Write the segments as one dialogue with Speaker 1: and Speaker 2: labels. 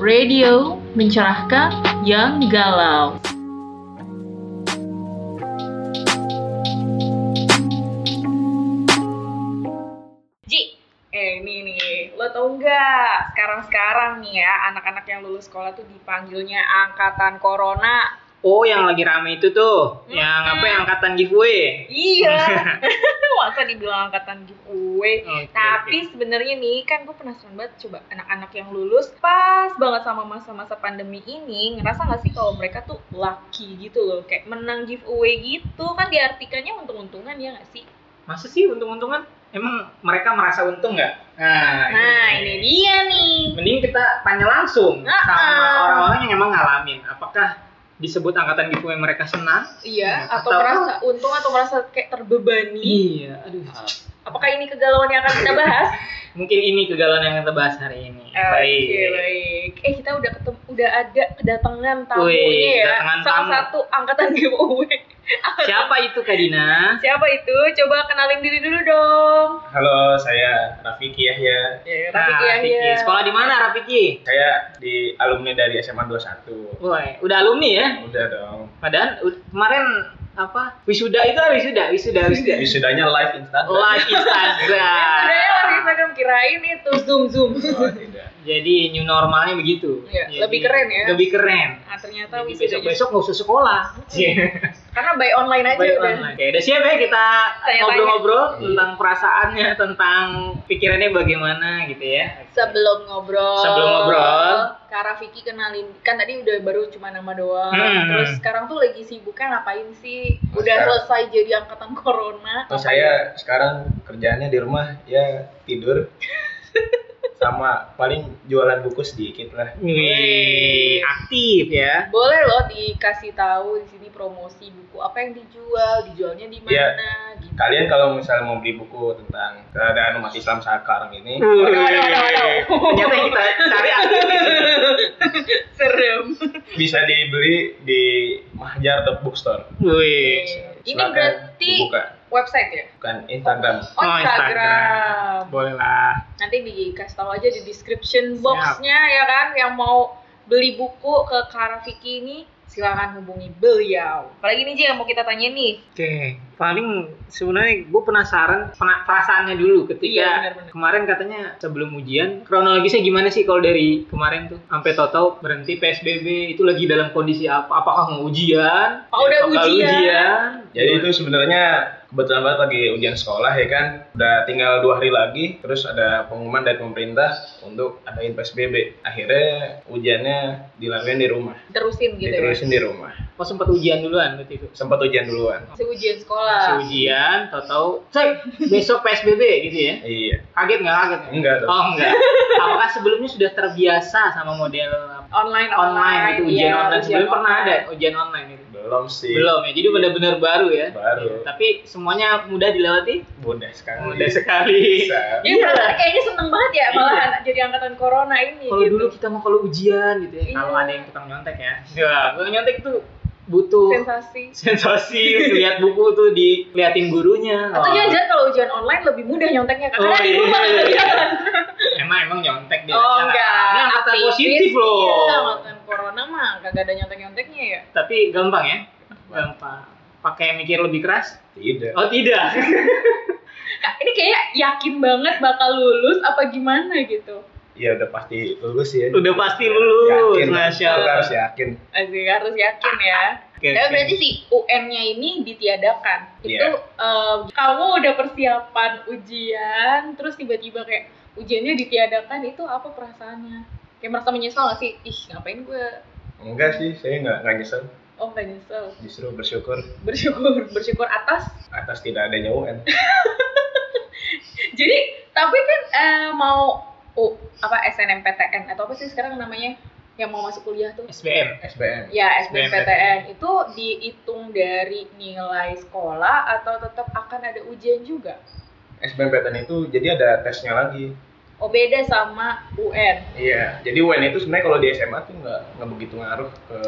Speaker 1: Radio mencerahkan yang galau.
Speaker 2: Ji, eh ini nih, lo tau nggak? Sekarang-sekarang nih ya, anak-anak yang lulus sekolah tuh dipanggilnya angkatan corona.
Speaker 3: Oh, yang lagi rame itu tuh, yang
Speaker 2: Mm-mm.
Speaker 3: apa yang angkatan giveaway.
Speaker 2: Iya, masa dibilang angkatan giveaway.
Speaker 3: Oke,
Speaker 2: Tapi sebenarnya nih, kan gue penasaran banget coba anak-anak yang lulus pas banget sama masa-masa pandemi ini, ngerasa nggak sih kalau mereka tuh lucky gitu loh, kayak menang giveaway gitu kan diartikannya untung-untungan ya nggak sih?
Speaker 3: Masa sih untung-untungan? Emang mereka merasa untung nggak? Nah,
Speaker 2: Nah, ini dia nih.
Speaker 3: Mending kita tanya langsung
Speaker 2: Ah,
Speaker 3: sama
Speaker 2: ah.
Speaker 3: orang-orang yang emang ngalamin. Apakah disebut angkatan giveaway mereka senang?
Speaker 2: Iya,
Speaker 3: Nah,
Speaker 2: atau
Speaker 3: atau-
Speaker 2: merasa untung atau merasa kayak terbebani.
Speaker 3: Iya, aduh.
Speaker 2: Ah. Apakah ini kegalauan yang akan kita bahas?
Speaker 3: Mungkin ini kegalauan yang kita bahas hari ini.
Speaker 2: Oke, baik. Eh, kita udah ketemu, udah ada kedatangan tamunya
Speaker 3: Wih,
Speaker 2: ya.
Speaker 3: kedatangan
Speaker 2: Salah
Speaker 3: tamu.
Speaker 2: satu angkatan giveaway.
Speaker 3: Siapa itu Kak Dina?
Speaker 2: Siapa itu? Coba kenalin diri dulu dong.
Speaker 4: Halo, Oh, saya Rafiki Yahya.
Speaker 2: Ya,
Speaker 3: Nah, Rafiki. Sekolah di mana Rafiki?
Speaker 4: Saya di alumni dari SMA 21.
Speaker 3: Woi, udah alumni ya?
Speaker 4: Udah dong.
Speaker 3: Padahal u- kemarin apa? Wisuda itu kan wisuda, wisuda, wisuda.
Speaker 4: Wisudanya live Instagram.
Speaker 3: Live Instagram.
Speaker 2: Sebenarnya orang ya, Instagram kirain itu zoom zoom.
Speaker 4: Oh, tidak.
Speaker 3: Jadi new normalnya begitu.
Speaker 2: Iya,
Speaker 3: Jadi,
Speaker 2: lebih keren ya.
Speaker 3: Lebih keren.
Speaker 2: Nah, ternyata
Speaker 3: Jadi
Speaker 2: wisudanya.
Speaker 3: besok besok nggak usah sekolah.
Speaker 2: Karena by online aja
Speaker 3: Baik,
Speaker 2: udah.
Speaker 3: online. Oke, udah siap ya kita
Speaker 2: Tanya-tanya.
Speaker 3: ngobrol-ngobrol tentang perasaannya, tentang pikirannya bagaimana gitu ya.
Speaker 2: Sebelum ngobrol.
Speaker 3: Sebelum ngobrol.
Speaker 2: Kak Rafiki kenalin kan tadi udah baru cuma nama doang.
Speaker 3: Hmm. Nah.
Speaker 2: Terus sekarang tuh lagi sibuknya ngapain sih?
Speaker 4: Oh,
Speaker 2: Udah
Speaker 4: sekarang-
Speaker 2: selesai jadi angkatan corona.
Speaker 4: Oh, saya sekarang kerjaannya di rumah ya tidur sama paling jualan buku sedikit lah.
Speaker 3: Wih, aktif ya.
Speaker 2: Boleh loh dikasih tahu di sini promosi buku apa yang dijual, dijualnya di
Speaker 4: Iya.
Speaker 2: mana gitu.
Speaker 4: Kalian kalau misalnya mau beli buku tentang keadaan umat Islam sekarang ini,
Speaker 3: Hmm.
Speaker 2: Waduh, waduh, waduh, waduh.
Speaker 3: Ternyata yang kita cari aktif di sini.
Speaker 2: Serem.
Speaker 4: bisa dibeli di Mahjar The Bookstore.
Speaker 3: Wih.
Speaker 2: Ini
Speaker 4: Silakan
Speaker 2: berarti
Speaker 4: dibuka.
Speaker 2: website ya?
Speaker 4: Bukan Instagram.
Speaker 2: Oh,
Speaker 3: Oh,
Speaker 2: Instagram.
Speaker 3: Instagram. Boleh lah.
Speaker 2: Nanti dikasih tahu aja di description box-nya ya kan yang mau beli buku ke Karafiki ini silakan hubungi beliau. Apalagi nih Ji yang mau kita tanya nih.
Speaker 3: Oke, paling sebenarnya gue penasaran pena- perasaannya dulu ketika
Speaker 2: Iya, benar-benar.
Speaker 3: kemarin katanya sebelum ujian kronologisnya gimana sih kalau dari kemarin tuh sampai tau-tau berhenti PSBB itu lagi dalam kondisi apa? Apakah mau ujian?
Speaker 2: Oh, udah
Speaker 3: Apakah
Speaker 2: ujian.
Speaker 4: Jadi itu sebenarnya kebetulan banget lagi ujian sekolah ya kan, udah tinggal dua hari lagi, terus ada pengumuman dari pemerintah untuk adain psbb. Akhirnya ujiannya dilakuin di rumah,
Speaker 2: Terusin
Speaker 3: ya?
Speaker 2: gitu
Speaker 4: diterusin di rumah.
Speaker 3: Oh sempat ujian duluan berarti itu.
Speaker 4: Sempat ujian duluan.
Speaker 2: ya. Masih ujian
Speaker 3: Masih
Speaker 2: sekolah.
Speaker 3: ujian, tau-tau, cek besok PSBB gitu ya.
Speaker 4: Iya,
Speaker 3: Kaget nggak kaget?
Speaker 4: Enggak dong.
Speaker 3: Oh enggak. Apakah sebelumnya sudah terbiasa sama model apa,
Speaker 2: Online
Speaker 3: online, itu ujian
Speaker 2: iya,
Speaker 3: online? Sebelumnya pernah ada
Speaker 2: online.
Speaker 3: ujian online itu?
Speaker 4: belum sih.
Speaker 3: Belum ya, jadi benar-benar baru ya.
Speaker 4: Iya. Baru.
Speaker 3: Tapi semuanya mudah dilewati?
Speaker 4: Mudah sekali.
Speaker 3: Mudah Oh, sekali.
Speaker 4: Bisa.
Speaker 3: Iya.
Speaker 2: Dia merasa Iya, kayaknya seneng banget ya malahan jadi angkatan corona ini
Speaker 3: Kalau
Speaker 2: gitu.
Speaker 3: dulu kita mau kalau ujian gitu ya,
Speaker 2: Iya.
Speaker 3: kalau ada yang tukang nyontek ya. Ya, tukang nyontek tuh butuh
Speaker 2: Gitu. sensasi.
Speaker 3: sensasi lihat buku tuh diliatin gurunya. Wah.
Speaker 2: Atau jangan-jangan kalau ujian online lebih mudah nyonteknya Kak, karena
Speaker 3: Oh,
Speaker 2: kan di rumah
Speaker 3: iya.
Speaker 2: kerjaan.
Speaker 3: Emang emang nyontek dia. Iya,
Speaker 2: Oh enggak.
Speaker 3: Ini angkatan
Speaker 2: Aktivis,
Speaker 3: positif loh.
Speaker 2: Iya, angkatan corona mah kagak ada nyontek-nyonteknya ya.
Speaker 3: Tapi gampang ya? Gampang. Pakai mikir lebih keras?
Speaker 4: Tidak.
Speaker 3: Oh tidak.
Speaker 2: Kak, Nah, ini kayak yakin banget bakal lulus apa gimana gitu.
Speaker 4: Ya udah pasti lulus ya.
Speaker 3: Udah pasti lulus.
Speaker 4: Yakin.
Speaker 3: Masya
Speaker 4: Kita
Speaker 3: Allah.
Speaker 4: harus yakin.
Speaker 2: Asik, harus yakin ya.
Speaker 3: Oke,
Speaker 2: Dan
Speaker 3: oke.
Speaker 2: berarti si UN-nya ini ditiadakan. Itu
Speaker 4: Iya.
Speaker 2: em, kamu udah persiapan ujian, terus tiba-tiba kayak ujiannya ditiadakan, itu apa perasaannya? Kayak merasa menyesal gak sih? Ih, ngapain gue?
Speaker 4: Enggak sih, saya nggak nggak nyesel.
Speaker 2: Oh, gak nyesel.
Speaker 4: Justru bersyukur
Speaker 2: Bersyukur, bersyukur atas.
Speaker 4: atas tidak adanya UN.
Speaker 2: Jadi, tapi kan eh, mau oh, apa SNMPTN atau apa sih sekarang namanya yang mau masuk kuliah tuh?
Speaker 3: SBM.
Speaker 4: SBM.
Speaker 2: Ya,
Speaker 3: SBMPTN.
Speaker 2: SBMPTN itu dihitung dari nilai sekolah atau tetap akan ada ujian juga?
Speaker 4: SBMPTN itu jadi ada tesnya lagi.
Speaker 2: Oh, beda sama UN.
Speaker 4: Iya, jadi UN itu sebenarnya kalau di SMA tuh nggak nggak begitu ngaruh ke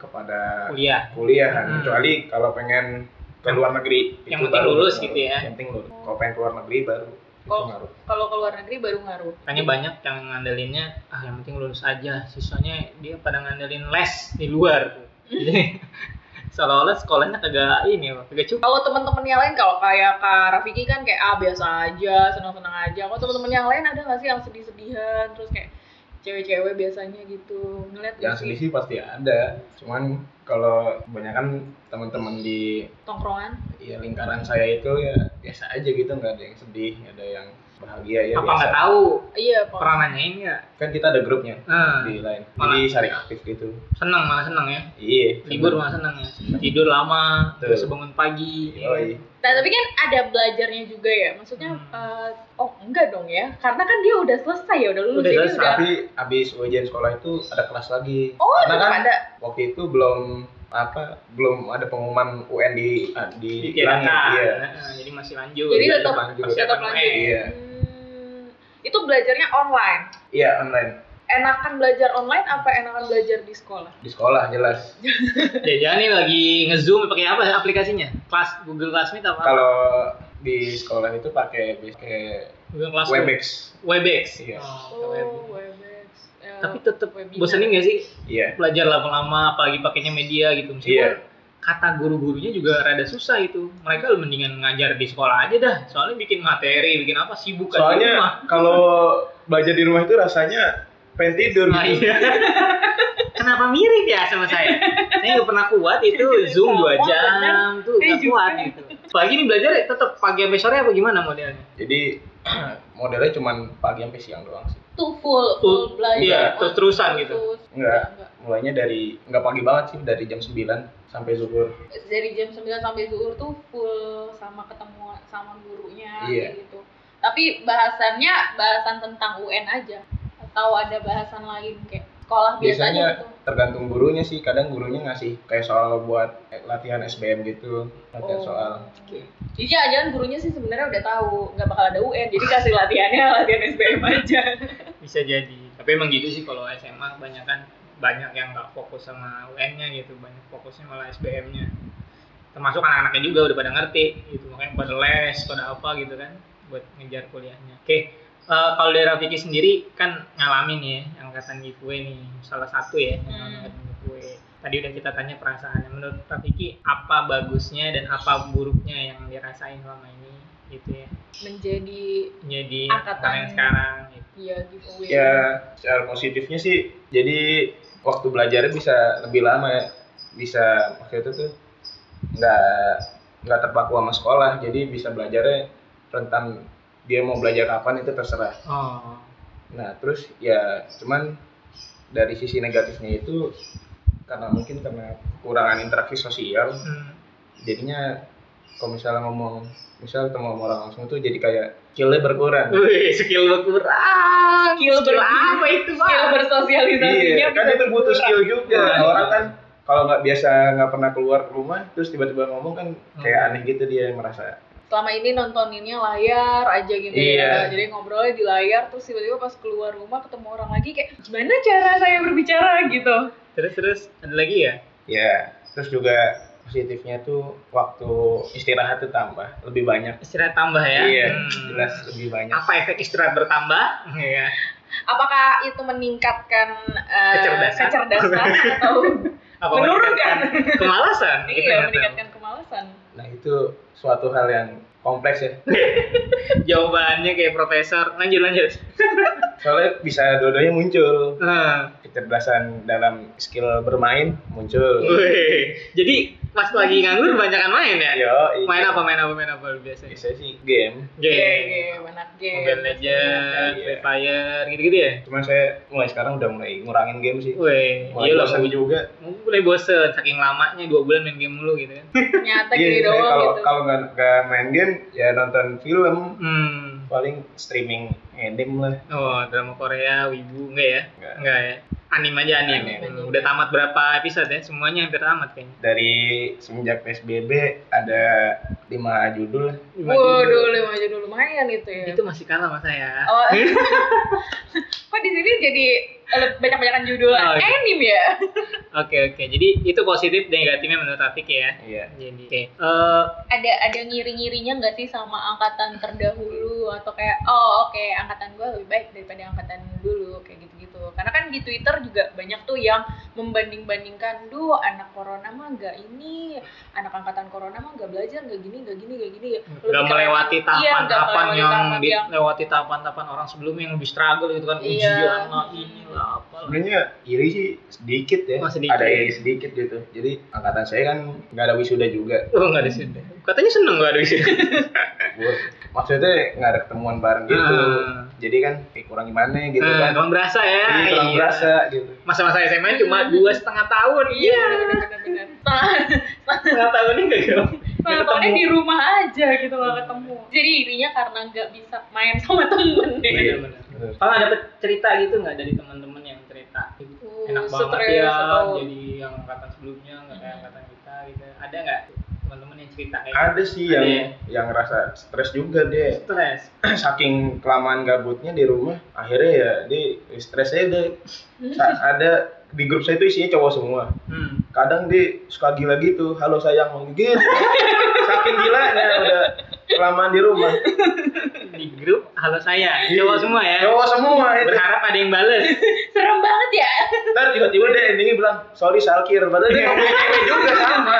Speaker 4: kepada
Speaker 3: Kuliah.
Speaker 4: kuliahan,
Speaker 3: Hmm.
Speaker 4: kecuali kalau pengen ke luar negeri
Speaker 3: Yang penting lulus gitu ya. Oh.
Speaker 4: Yang penting lulus. Kalau pengen keluar negeri baru itu
Speaker 2: Kalau-
Speaker 4: ngaruh.
Speaker 2: Kalau ke luar negeri baru ngaruh.
Speaker 3: Makanya banyak yang ngandelinnya ah yang penting lulus aja, sisanya dia pada ngandelin les di luar. Jadi seolah-olah sekolahnya kagak ini, apa, kagak cukup.
Speaker 2: Kalau teman-teman yang lain kalau kayak Kak Rafiki kan kayak ah biasa aja, senang-senang aja. Kalau teman-teman yang lain ada nggak sih yang sedih-sedihan terus kayak cewek-cewek biasanya gitu ngeliat nggak
Speaker 4: yang
Speaker 2: sih
Speaker 4: selisih pasti ada cuman kalau kebanyakan teman-teman di
Speaker 2: tongkrongan
Speaker 4: ya lingkaran saya itu ya biasa aja gitu nggak ada yang sedih nggak ada yang bahagia ya
Speaker 3: apa
Speaker 4: biasa
Speaker 3: nggak tahu
Speaker 2: iya kok
Speaker 3: pernah nanyain ya, nggak?
Speaker 4: kan kita ada grupnya
Speaker 3: Nah,
Speaker 4: di lain
Speaker 3: Malah.
Speaker 4: jadi saling aktif gitu
Speaker 3: seneng malah seneng ya.
Speaker 4: iya
Speaker 3: Libur malah seneng ya. Tidur lama,
Speaker 4: Tuh.
Speaker 3: terus bangun pagi. ya
Speaker 4: oh iya
Speaker 2: nah tapi kan ada belajarnya juga ya maksudnya
Speaker 3: Hmm.
Speaker 2: eh, oh enggak dong ya karena kan dia udah selesai ya udah lulus
Speaker 3: Udah
Speaker 2: jadi
Speaker 3: selesai.
Speaker 2: udah
Speaker 4: tapi abis ujian sekolah itu ada kelas lagi
Speaker 2: oh
Speaker 4: karena
Speaker 2: tetap
Speaker 4: kan
Speaker 2: ada
Speaker 4: waktu itu belum apa belum ada pengumuman UN di ah, di
Speaker 3: Ditiadakan.
Speaker 4: iya
Speaker 3: Nah, jadi masih lanjut.
Speaker 2: Jadi
Speaker 3: Tetap
Speaker 2: tetap-
Speaker 3: lanjut.
Speaker 4: tetap
Speaker 3: Persiapan
Speaker 2: lanjut.
Speaker 3: UN.
Speaker 4: iya
Speaker 2: Hmm, itu belajarnya online
Speaker 4: iya online
Speaker 2: enakan belajar online apa enakan belajar di sekolah
Speaker 4: di sekolah jelas
Speaker 3: Jangan Eh, nih lagi ngezoom pakai apa aplikasinya? Kelas Google Classmeet apa?
Speaker 4: kalau di sekolah itu pakai pakai
Speaker 3: Google Classroom.
Speaker 4: Webex
Speaker 3: Webex.
Speaker 4: Iya.
Speaker 3: Oh,
Speaker 2: oh
Speaker 3: Webex.
Speaker 2: webex Eh,
Speaker 3: Tapi tetap
Speaker 2: webinar.
Speaker 3: bosenin gak sih
Speaker 4: iya
Speaker 3: belajar lama-lama apalagi pakainya media gitu meskipun
Speaker 4: iya
Speaker 3: kata guru-gurunya juga rada susah itu. Mereka mendingan ngajar di sekolah aja dah. Soalnya bikin materi, bikin apa sibuk aja di rumah.
Speaker 4: Soalnya kalau belajar di rumah itu rasanya pengen tidur
Speaker 3: Nah,
Speaker 4: gitu.
Speaker 3: iya. Kenapa mirip ya sama saya? Saya nggak pernah kuat itu
Speaker 2: Iya,
Speaker 3: Zoom dua
Speaker 2: Sama,
Speaker 3: jam tuh nggak
Speaker 2: Saya Iya juga.
Speaker 3: kuat gitu. Apalagi ini belajar tetap pagi sampai sore apa gimana modelnya?
Speaker 4: Jadi modelnya cuman pagi sampai siang doang sih.
Speaker 2: tuh full
Speaker 3: Full,
Speaker 2: full belajar
Speaker 3: iya,
Speaker 2: Oh,
Speaker 3: terus-terusan gitu.
Speaker 2: terus.
Speaker 4: Enggak. Mulainya dari nggak pagi banget sih dari jam 9 sampai zuhur.
Speaker 2: dari jam 9 sampai zuhur tuh full sama ketemu sama gurunya
Speaker 4: Iya.
Speaker 2: kayak gitu. Tapi bahasannya bahasan tentang UN aja atau ada bahasan lain kayak sekolah gitu. biasanya
Speaker 4: Biasanya tergantung gurunya sih. Kadang gurunya ngasih kayak soal buat eh, latihan SBM gitu, latihan
Speaker 2: Oh.
Speaker 4: soal.
Speaker 2: Jadi jangan-jangan gurunya sih sebenarnya udah tahu nggak bakal ada UN, jadi kasih latihannya latihan SBM aja.
Speaker 3: Bisa jadi. Tapi emang gitu sih kalau SMA banyak kan banyak yang nggak fokus sama UN-nya gitu, banyak fokusnya malah SBM-nya. Termasuk anak-anaknya juga udah pada ngerti gitu, makanya pada les, pada apa gitu kan buat ngejar kuliahnya. Oke. eh, kalau dari Rafiki sendiri kan ngalamin ya angkatan giveaway nih salah satu ya yang ngalamin
Speaker 2: Hmm.
Speaker 3: angkatan giveaway. Tadi udah kita tanya perasaannya. Menurut Rafiki apa bagusnya dan apa buruknya yang dirasain selama ini gitu ya?
Speaker 2: Menjadi
Speaker 3: Jadi
Speaker 2: Angkatan-
Speaker 3: angkatan yang sekarang gitu.
Speaker 2: ya giveaway.
Speaker 4: Ya secara positifnya sih. Jadi waktu belajarnya bisa lebih lama ya. Bisa maksudnya itu tuh nggak nggak terpaku sama sekolah. Jadi bisa belajarnya rentan dia mau belajar kapan itu terserah.
Speaker 3: Oh.
Speaker 4: Nah, terus ya cuman dari sisi negatifnya itu karena mungkin karena kekurangan interaksi sosial,
Speaker 3: Hmm.
Speaker 4: jadinya kalau misalnya ngomong, misal ketemu sama orang langsung tuh jadi kayak skillnya berkurang.
Speaker 3: Wih, skill lo kurang.
Speaker 2: Skill berguna.
Speaker 3: apa itu, Pak?
Speaker 2: Skill bersosialisasinya
Speaker 4: Iya, kan
Speaker 2: bisa
Speaker 4: itu butuh
Speaker 2: berkurang.
Speaker 4: skill juga.
Speaker 3: Nah,
Speaker 4: Orang kan kalau nggak biasa nggak pernah keluar ke rumah, terus tiba-tiba ngomong kan kayak
Speaker 3: Hmm.
Speaker 4: aneh gitu dia merasa.
Speaker 2: selama ini nontoninnya layar aja gitu ya.
Speaker 4: Iya.
Speaker 2: Jadi ngobrolnya di layar terus tiba-tiba pas keluar rumah ketemu orang lagi kayak gimana cara saya berbicara gitu.
Speaker 3: Terus terus ada lagi ya?
Speaker 4: Ya, terus juga positifnya tuh waktu istirahat tuh tambah lebih banyak.
Speaker 3: Istirahat tambah ya.
Speaker 4: Iya,
Speaker 3: Hmm.
Speaker 4: jelas lebih banyak.
Speaker 3: Apa efek istirahat bertambah? Iya.
Speaker 2: Apakah itu meningkatkan eh,
Speaker 3: Kecerdasan.
Speaker 2: kecerdasan atau
Speaker 3: Apa
Speaker 2: Menurun,
Speaker 3: meningkatkan kemalasan? Gitu,
Speaker 2: iya
Speaker 3: nggak tahu.
Speaker 2: meningkatkan kemalasan?
Speaker 4: Nah itu suatu hal yang kompleks ya.
Speaker 3: Jawabannya kayak profesor. Lanjut lanjut.
Speaker 4: Soalnya bisa dua-duanya muncul.
Speaker 3: Nah.
Speaker 4: Kecerdasan dalam skill bermain
Speaker 3: Hmm.
Speaker 4: muncul.
Speaker 3: Wih. Jadi pas lagi nganggur banyakan main ya?
Speaker 4: Yo,
Speaker 3: Main apa main apa main apa biasanya?
Speaker 4: Bisa sih game.
Speaker 3: Game.
Speaker 2: Iya, game, anak game.
Speaker 3: Mobile Legends,
Speaker 4: Iya.
Speaker 3: Free Fire, gitu-gitu ya?
Speaker 4: Cuman saya mulai sekarang udah mulai ngurangin game sih.
Speaker 3: Wih,
Speaker 4: Mulai
Speaker 3: iya lah
Speaker 4: bosan juga.
Speaker 3: mulai bosen saking lamanya dua bulan main game mulu gitu kan
Speaker 2: Nyata
Speaker 4: Iya,
Speaker 2: gini
Speaker 4: saya
Speaker 2: doang
Speaker 4: kalau
Speaker 2: gitu.
Speaker 4: kalau nggak nggak main game ya nonton film
Speaker 3: hmm
Speaker 4: paling streaming anime lah.
Speaker 3: oh drama Korea wibu enggak ya
Speaker 4: Enggak.
Speaker 3: enggak ya anim aja anim.
Speaker 4: Anim.
Speaker 3: Hmm, Udah tamat berapa episode ya? Semuanya hampir tamat kayaknya.
Speaker 4: Dari semenjak PSBB ada lima judul.
Speaker 3: Lima
Speaker 2: Waduh,
Speaker 3: judul.
Speaker 2: lima judul lumayan itu ya.
Speaker 4: Gitu.
Speaker 3: Itu masih kalah sama saya.
Speaker 2: Oh. Kok di sini jadi banyak-banyakan judul
Speaker 3: Oh, iya.
Speaker 2: anime ya?
Speaker 3: Oke oke. Jadi itu positif dan negatifnya menurut Atik ya.
Speaker 4: Iya.
Speaker 3: Jadi oke. Eh,
Speaker 2: Ada ada ngiri-ngirinya nggak sih sama angkatan terdahulu atau kayak oh oke angkatan gue lebih baik daripada angkatan dulu kayak gitu-gitu. Karena kan di Twitter juga banyak tuh yang membanding-bandingkan, duh anak corona mah nggak ini, anak angkatan corona mah nggak belajar nggak gini nggak gini nggak gini.
Speaker 3: nggak melewati
Speaker 2: Iya, nggak
Speaker 3: tahapan-tahapan
Speaker 2: melewati
Speaker 3: yang
Speaker 2: tahapan yang-
Speaker 3: dilewati tahapan-tahapan orang sebelumnya yang lebih struggle gitu kan
Speaker 2: Iya.
Speaker 3: ujian lah inilah apalah
Speaker 4: Sebenarnya iri sih sedikit ya.
Speaker 3: Oh, sedikit.
Speaker 4: Ada iri sedikit gitu. Jadi angkatan saya kan nggak ada wisuda juga.
Speaker 3: oh nggak ada sini katanya seneng nggak ada sini
Speaker 4: Bu. Maksudnya nggak ada ketemuan bareng gitu.
Speaker 3: Hmm.
Speaker 4: Jadi kan kayak kurang gimana gitu
Speaker 3: nah,
Speaker 4: kan.
Speaker 3: kurang berasa ya
Speaker 4: Iya, kurang
Speaker 3: Iya.
Speaker 4: berasa gitu.
Speaker 3: masa-masa SMA cuma dua setengah tahun
Speaker 2: Iya, benar-benar.
Speaker 3: setengah tahunnya nggak gitu Nggak
Speaker 2: Nontonnya di
Speaker 3: ketemu. Hmm.
Speaker 2: rumah aja gitu nggak ketemu. Jadi irinya karena nggak bisa main sama temen deh.
Speaker 3: Iya, benar.
Speaker 4: Bener.
Speaker 3: kalau ada pe- cerita gitu nggak dari teman-teman yang cerita enak banget
Speaker 2: Uh, stres
Speaker 3: ya
Speaker 2: atau-
Speaker 3: jadi yang angkatan sebelumnya nggak kayak angkatan kita gitu ada nggak teman-teman yang cerita kayak
Speaker 4: Ada sih yang
Speaker 3: Ada ya?
Speaker 4: yang ngerasa stres juga deh.
Speaker 3: gitu? stres
Speaker 4: saking kelamaan gabutnya di rumah akhirnya ya di stres saya udah Sa- ada di grup saya itu isinya cowok semua
Speaker 3: hmm.
Speaker 4: kadang di suka gila gitu halo sayang mau gitu saking gilanya udah kelamaan di rumah
Speaker 3: di grup halo saya cowok semua ya
Speaker 4: Iya. cowok semua itu
Speaker 3: berharap ada yang bales
Speaker 2: Serem banget ya.
Speaker 4: ntar tiba-tiba deh endingnya bilang sorry salkir padahal dia gitu. nggak punya cewek juga sama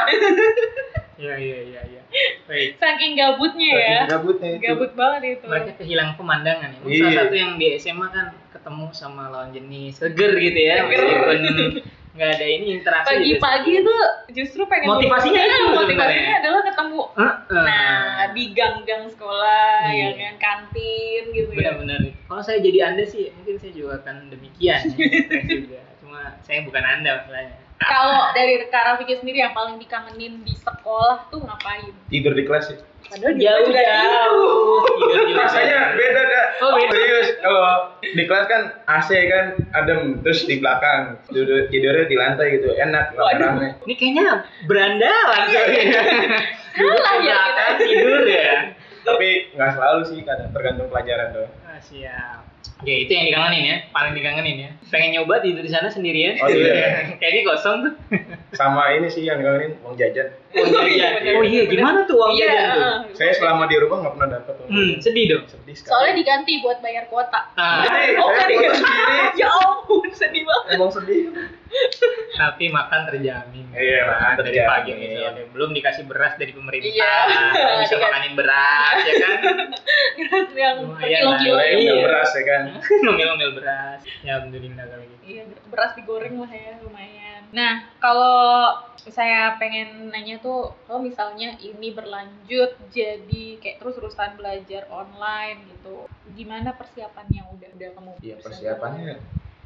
Speaker 3: iya iya iya iya baik
Speaker 2: Saking gabutnya ya.
Speaker 4: saking gabutnya itu
Speaker 2: Gabut banget itu.
Speaker 3: mereka kehilangan pemandangan ya Mungkin
Speaker 4: Iya.
Speaker 3: salah satu yang di SMA kan ketemu sama lawan jenis seger gitu ya
Speaker 2: Seger.
Speaker 3: meskipun nggak ada ini interaksi gitu. juga
Speaker 2: Pagi-pagi
Speaker 3: seger.
Speaker 2: itu justru pengen
Speaker 3: Iya, Motivasinya
Speaker 2: Iya,
Speaker 3: itu
Speaker 2: motivasinya
Speaker 3: sebenarnya.
Speaker 2: adalah ketemu
Speaker 3: Heeh.
Speaker 2: Nah, di gang-gang sekolah,
Speaker 3: Iya.
Speaker 2: ya kan, kantin gitu ya.
Speaker 3: benar-benar kalau saya jadi anda sih mungkin saya juga akan demikian ya, stres juga cuma saya bukan anda masalahnya
Speaker 2: Kalau dari Kak Rafiki sendiri yang paling dikangenin di sekolah tuh ngapain?
Speaker 4: tidur di kelas sih
Speaker 2: Padahal Oh, dia
Speaker 3: jauh Iya,
Speaker 2: juga
Speaker 3: jauh Tidur juga.
Speaker 4: rasanya beda kak
Speaker 3: Oh, beda.
Speaker 4: serius kalau di kelas kan AC kan adem terus di belakang tidur tidurnya di lantai gitu enak rame-rame
Speaker 3: Ini kayaknya berandalan soalnya.
Speaker 2: Iya. Salah ya kita.
Speaker 3: Belakang tidur ya.
Speaker 4: tapi nggak selalu sih kadang tergantung pelajaran doang
Speaker 3: Ah, siap. Oke, itu yang dikangenin ya, paling dikangenin ya. Pengen nyoba tidur di sana sendirian.
Speaker 4: Oh, iya.
Speaker 3: Kayaknya kosong tuh.
Speaker 4: sama ini sih yang kangenin uang jajan
Speaker 3: Uang jajan. Oh iya, gimana tuh uang
Speaker 2: Iya,
Speaker 3: jajan tuh?
Speaker 2: heeh.
Speaker 4: saya selama di rumah nggak pernah dapat uang
Speaker 3: Hmm,
Speaker 4: jajan
Speaker 3: sedih dong.
Speaker 4: sedih sekali
Speaker 2: Soalnya diganti buat bayar kuota.
Speaker 3: Ah,
Speaker 4: Jadi,
Speaker 2: Oh, nggak
Speaker 4: saya foto
Speaker 2: diganti.
Speaker 4: sendiri
Speaker 2: ya ampun, sedih banget.
Speaker 4: emang sedih
Speaker 3: Iya, tapi makan terjamin.
Speaker 4: Iya, makan
Speaker 3: dari
Speaker 4: terjamin.
Speaker 3: pagi ke sore. Belum dikasih beras dari pemerintah.
Speaker 2: Iya.
Speaker 3: Bisa
Speaker 2: Dikasih.
Speaker 3: makanin beras ya kan.
Speaker 2: yang per
Speaker 3: Lumayan Oh, iya lah,
Speaker 2: kilo-kilo
Speaker 4: Saya
Speaker 3: lumayan.
Speaker 4: nggak
Speaker 3: Iya.
Speaker 4: beras ya kan
Speaker 3: Ngomel-ngomel beras. Ya, alhamdulillah kalau gitu.
Speaker 2: Iya, beras digoreng lah ya lumayan. Nah, kalau saya pengen nanya tuh, kalau misalnya ini berlanjut jadi kayak terus-terusan belajar online gitu, gimana persiapan yang udah udah kamu?
Speaker 3: Iya.
Speaker 4: ya persiapannya ya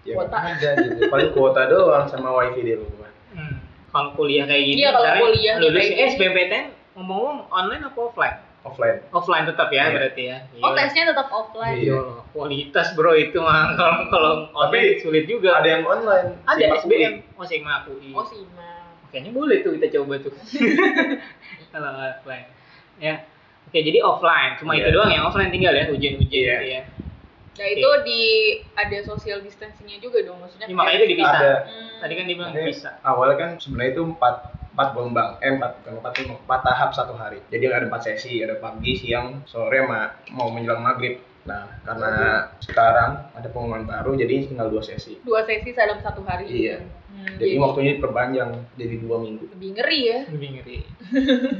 Speaker 4: nggak
Speaker 2: Kuota.
Speaker 4: ada gitu paling kuota doang sama wifi di rumah
Speaker 3: Hmm. Kalau kuliah kayak gini,
Speaker 2: Iya, kalau
Speaker 3: misalnya
Speaker 2: kuliah
Speaker 3: lulus
Speaker 2: kayak gini.
Speaker 3: SBMPTN ngomong-ngomong online apa offline?
Speaker 4: offline
Speaker 3: Offline tetap ya
Speaker 4: Iya.
Speaker 3: berarti ya.
Speaker 2: Oh,
Speaker 3: Iya.
Speaker 2: tesnya tetap offline.
Speaker 4: Iya.
Speaker 3: Iya, kualitas bro itu mah kalau kalau online
Speaker 4: Tapi,
Speaker 3: sulit juga.
Speaker 4: ada yang online
Speaker 3: Iya. ada
Speaker 4: Simak
Speaker 3: SBM, oh Sigma aku.
Speaker 4: Iya.
Speaker 2: Oh, Sima.
Speaker 3: Kayaknya boleh tuh kita coba tuh. kalau offline. Ya. Oke, jadi offline. Cuma
Speaker 4: Iya.
Speaker 3: itu doang yang offline tinggal ya ujian-ujian
Speaker 4: Iya.
Speaker 3: gitu ya.
Speaker 2: Nah, itu di ada social distancingnya juga dong maksudnya.
Speaker 3: Ini Iya, makanya itu
Speaker 4: kuliah.
Speaker 3: dipisah.
Speaker 4: ada
Speaker 2: Hmm.
Speaker 3: Tadi kan dibilang
Speaker 4: Jadi,
Speaker 3: bisa.
Speaker 4: awalnya kan sebenarnya itu empat empat gelombang, eh empat bukan empat gelombang, empat tahap satu hari. Jadi ada empat sesi, ada pagi, siang, sore, ma mau menjelang maghrib. Nah, karena sekarang ada pengumuman baru, jadi tinggal dua sesi.
Speaker 2: dua sesi dalam satu hari.
Speaker 4: Iya.
Speaker 2: Hmm,
Speaker 4: Jadi waktunya diperpanjang jadi dua minggu.
Speaker 2: lebih ngeri ya.
Speaker 3: Lebih ngeri.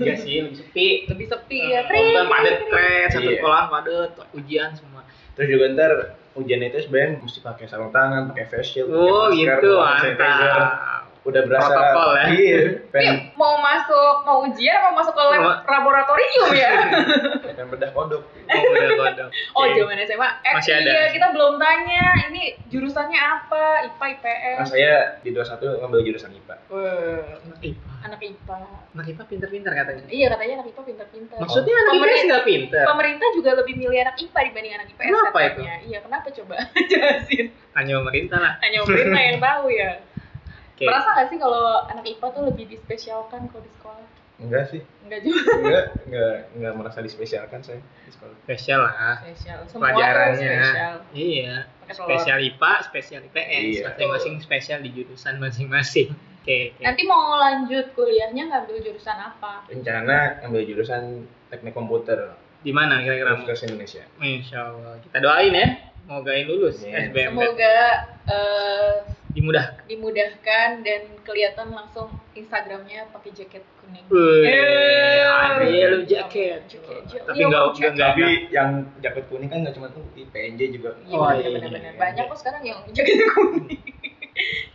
Speaker 3: Iya sih, lebih sepi.
Speaker 2: Lebih sepi
Speaker 3: Iya,
Speaker 2: ya.
Speaker 3: kan padet keren, satu
Speaker 4: Iya.
Speaker 3: sekolahan padet, ujian semua.
Speaker 4: Terus juga ntar ujian itu sebenarnya mesti pakai sarung tangan, pakai face shield, pakai
Speaker 3: Oh,
Speaker 4: masker,
Speaker 3: gitu
Speaker 4: hand sanitizer.
Speaker 3: mantap.
Speaker 4: udah berasa
Speaker 3: Protokol ya.
Speaker 4: iya
Speaker 2: Ini
Speaker 4: pengen,
Speaker 2: mau masuk mau ujian mau masuk ke lab
Speaker 3: Mau-
Speaker 2: laboratorium ya.
Speaker 4: pengen bedah kodok
Speaker 3: Oh, udah kodok.
Speaker 2: Oh,
Speaker 3: Oke.
Speaker 2: zaman SMA. Eh,
Speaker 3: Masih ada.
Speaker 2: iya, kita belum tanya. Ini jurusannya apa? IPA,
Speaker 4: Nah,
Speaker 2: IPS.
Speaker 4: saya di 21 ngambil jurusan IPA.
Speaker 2: Weh,
Speaker 3: Anak IPA.
Speaker 2: anak IPA.
Speaker 3: Anak IPA pinter-pinter katanya.
Speaker 2: Iya, katanya anak IPA pintar-pintar.
Speaker 3: Maksudnya anak IPA
Speaker 2: Pemerintah-
Speaker 3: nggak pinter.
Speaker 2: Pemerintah juga lebih milih anak IPA dibanding anak IPS
Speaker 3: Kenapa itu?
Speaker 2: katanya. Iya, kenapa coba? Jelasin.
Speaker 3: Hanya pemerintah lah.
Speaker 2: Hanya pemerintah yang tahu ya.
Speaker 3: Oke.
Speaker 2: Merasa nggak sih kalau anak IPA tuh lebih dispesialkan kalau di sekolah?
Speaker 4: Enggak sih.
Speaker 2: Enggak juga.
Speaker 4: Enggak, enggak enggak merasa dispesialkan saya di sekolah.
Speaker 3: Spesial lah.
Speaker 2: Spesial. Semua tuh
Speaker 3: Pelajarannya.
Speaker 2: spesial.
Speaker 3: Iya.
Speaker 2: Pakai telur.
Speaker 3: Spesial IPA, spesial IPS.
Speaker 4: Iya.
Speaker 3: Masing-masing spesial di jurusan masing-masing. Oke. oke.
Speaker 2: Nanti mau lanjut kuliahnya ngambil jurusan apa?
Speaker 4: Rencana ambil jurusan teknik komputer
Speaker 3: Di mana kira-kira?
Speaker 4: Universitas Indonesia.
Speaker 3: Insya Allah. Kita doain ya. Semoga lulus
Speaker 4: Iya.
Speaker 3: SBM.
Speaker 2: Semoga eh,
Speaker 3: Dimudahkan.
Speaker 2: dimudahkan dan kelihatan langsung Instagramnya pakai jaket kuning.
Speaker 3: Wih,
Speaker 2: Eh,
Speaker 3: ada yellow jacket.
Speaker 2: Jacket.
Speaker 3: Iya, Tapi
Speaker 2: Yellow
Speaker 3: nggak
Speaker 2: jacket.
Speaker 3: nggak
Speaker 4: Tapi
Speaker 3: nggak-
Speaker 4: yang jaket kuning kan enggak cuma tuh di PNJ juga.
Speaker 2: Iya,
Speaker 3: Oh, iya,
Speaker 2: benar-benar.
Speaker 4: iya.
Speaker 2: Banyak kok sekarang yang jaket kuning.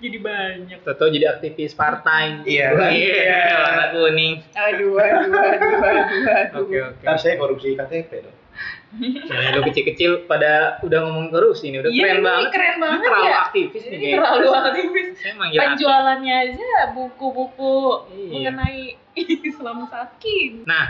Speaker 2: Jadi banyak.
Speaker 3: Toto jadi aktivis partai.
Speaker 4: Iya.
Speaker 3: Iya. Warna kuning.
Speaker 2: Aduh, aduh, aduh, aduh, aduh.
Speaker 3: Oke oke.
Speaker 4: Ntar saya korupsi KTP dong.
Speaker 3: Nah, lu kecil-kecil pada udah ngomong terus ini udah
Speaker 2: Iya,
Speaker 3: keren
Speaker 2: ini
Speaker 3: banget.
Speaker 2: keren
Speaker 3: Ini
Speaker 2: banget
Speaker 3: terlalu
Speaker 2: ya.
Speaker 3: aktivis nih.
Speaker 2: Ini
Speaker 3: kayaknya.
Speaker 2: terlalu aktivis.
Speaker 3: Saya manggil aktivis.
Speaker 2: Penjualannya aja buku-buku
Speaker 3: Iya.
Speaker 2: mengenai Islam Sakin.
Speaker 3: Nah,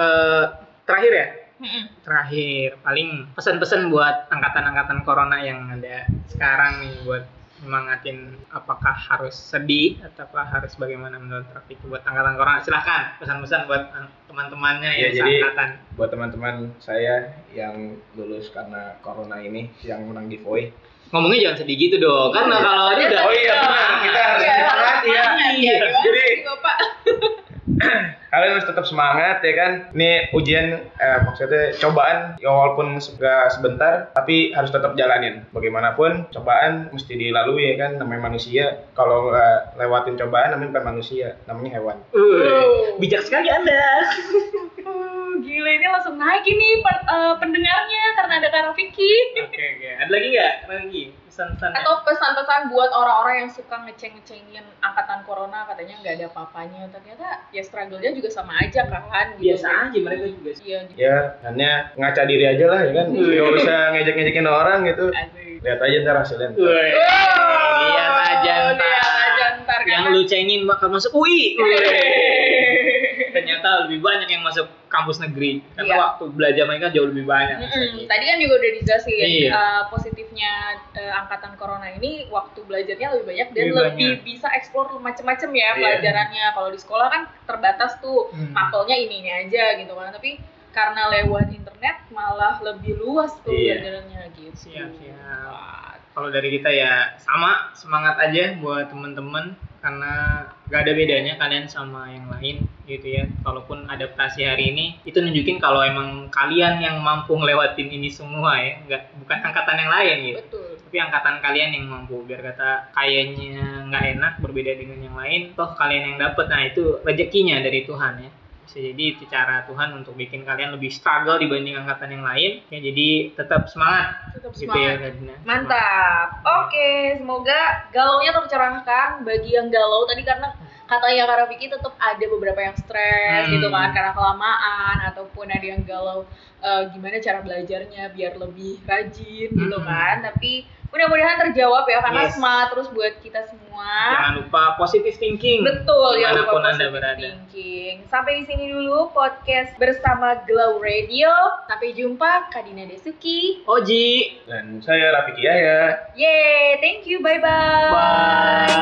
Speaker 3: eh, terakhir ya,
Speaker 2: Mm-mm.
Speaker 3: terakhir paling pesan-pesan buat angkatan-angkatan corona yang ada sekarang nih buat nyemangatin apakah harus sedih ataukah harus bagaimana menurut Rafi buat angkatan corona silahkan pesan-pesan buat eh, teman-temannya
Speaker 4: Iya,
Speaker 3: yang
Speaker 4: jadi-
Speaker 3: seangkatan
Speaker 4: Buat teman-teman saya yang lulus karena corona ini yang menang giveaway.
Speaker 3: ngomongnya jangan sedih gitu dong kan kalau ini udah Iya.
Speaker 4: Oh iya, benar. Kita harus
Speaker 2: Iya,
Speaker 4: semangat ya.
Speaker 2: semangat ya. Gimana
Speaker 4: Jadi-
Speaker 2: sih, Bapak?
Speaker 4: kalian harus tetap semangat ya kan ini ujian eh, maksudnya cobaan ya walaupun nggak sebentar tapi harus tetap jalanin bagaimanapun cobaan mesti dilalui ya kan namanya manusia kalau nggak lewatin cobaan namanya bukan manusia namanya hewan
Speaker 3: Wih, bijak sekali anda
Speaker 2: Uh, Gila ini langsung naik ini per- eh, pendengarnya karena ada Kak Rafiki.
Speaker 3: Oke oke. Ada lagi nggak? Ada Lagi pesan-pesan.
Speaker 2: Atau pesan-pesan buat orang-orang yang suka ngeceng-ngecengin angkatan corona katanya nggak ada apa-apanya. Ternyata ya struggle-nya juga sama aja kan. gitu.
Speaker 3: biasa aja mereka juga. sih.
Speaker 2: Iya, gitu.
Speaker 4: ya hanya ngaca diri aja lah ya kan nggak usah ngejek-ngejekin orang gitu
Speaker 2: Asik.
Speaker 4: lihat aja ntar hasilnya ntar.
Speaker 3: Wih, Lihat aja ntar.
Speaker 2: Lihat aja ntar,
Speaker 3: Iya, Yang
Speaker 2: karena-
Speaker 3: lu cengin bakal masuk UI.
Speaker 2: Iya.
Speaker 3: Wih. Ternyata lebih banyak yang masuk kampus negeri karena
Speaker 2: Iya.
Speaker 3: waktu belajar mereka jauh lebih banyak.
Speaker 2: Mm-mm. Tadi kan juga udah dijelasin
Speaker 3: Iya.
Speaker 2: eh, positifnya eh, angkatan corona ini waktu belajarnya lebih banyak dan
Speaker 3: Lebih
Speaker 2: lebih,
Speaker 3: banyak.
Speaker 2: bisa explore macem-macem ya
Speaker 4: Iya.
Speaker 2: pelajarannya. Kalau di sekolah kan terbatas tuh
Speaker 3: Hmm.
Speaker 2: makulnya ininya aja gitu kan. Tapi karena lewat internet malah lebih luas tuh
Speaker 4: Iya.
Speaker 2: pelajarannya gitu.
Speaker 3: Siap siap. Kalau dari kita ya sama semangat aja buat temen-temen karena gak ada bedanya kalian sama yang lain gitu ya. Kalaupun adaptasi hari ini itu nunjukin kalau emang kalian yang mampu ngelewatin ini semua ya, nggak bukan angkatan yang lain gitu.
Speaker 2: Betul.
Speaker 3: Tapi angkatan kalian yang mampu biar kata kayaknya nggak enak berbeda dengan yang lain, toh kalian yang dapet nah itu rezekinya dari Tuhan ya bisa jadi itu cara Tuhan untuk bikin kalian lebih struggle dibanding angkatan yang lain ya jadi tetap semangat
Speaker 2: Tetap
Speaker 3: Gitu
Speaker 2: semangat.
Speaker 3: ya, Radina.
Speaker 2: Mantap. Oke, semoga galaunya tercerahkan bagi yang galau tadi karena katanya Kak Rafiki tetap ada beberapa yang stres
Speaker 3: Hmm.
Speaker 2: gitu kan karena kelamaan ataupun ada yang galau eh, gimana cara belajarnya biar lebih rajin gitu
Speaker 3: Hmm.
Speaker 2: kan. Tapi mudah-mudahan terjawab ya karena
Speaker 3: Yes.
Speaker 2: semangat terus buat kita semua.
Speaker 3: Jangan lupa positive thinking.
Speaker 2: Betul ya
Speaker 3: Dimanapun
Speaker 2: Bapak
Speaker 3: Anda
Speaker 2: Positive
Speaker 3: berada.
Speaker 2: Thinking. Sampai di sini dulu podcast bersama Glow Radio. Sampai jumpa Kak Dina Desuki.
Speaker 3: Oji.
Speaker 4: dan saya Rafiki Yahya
Speaker 2: Yeay, thank you. Bye-bye.
Speaker 3: Bye.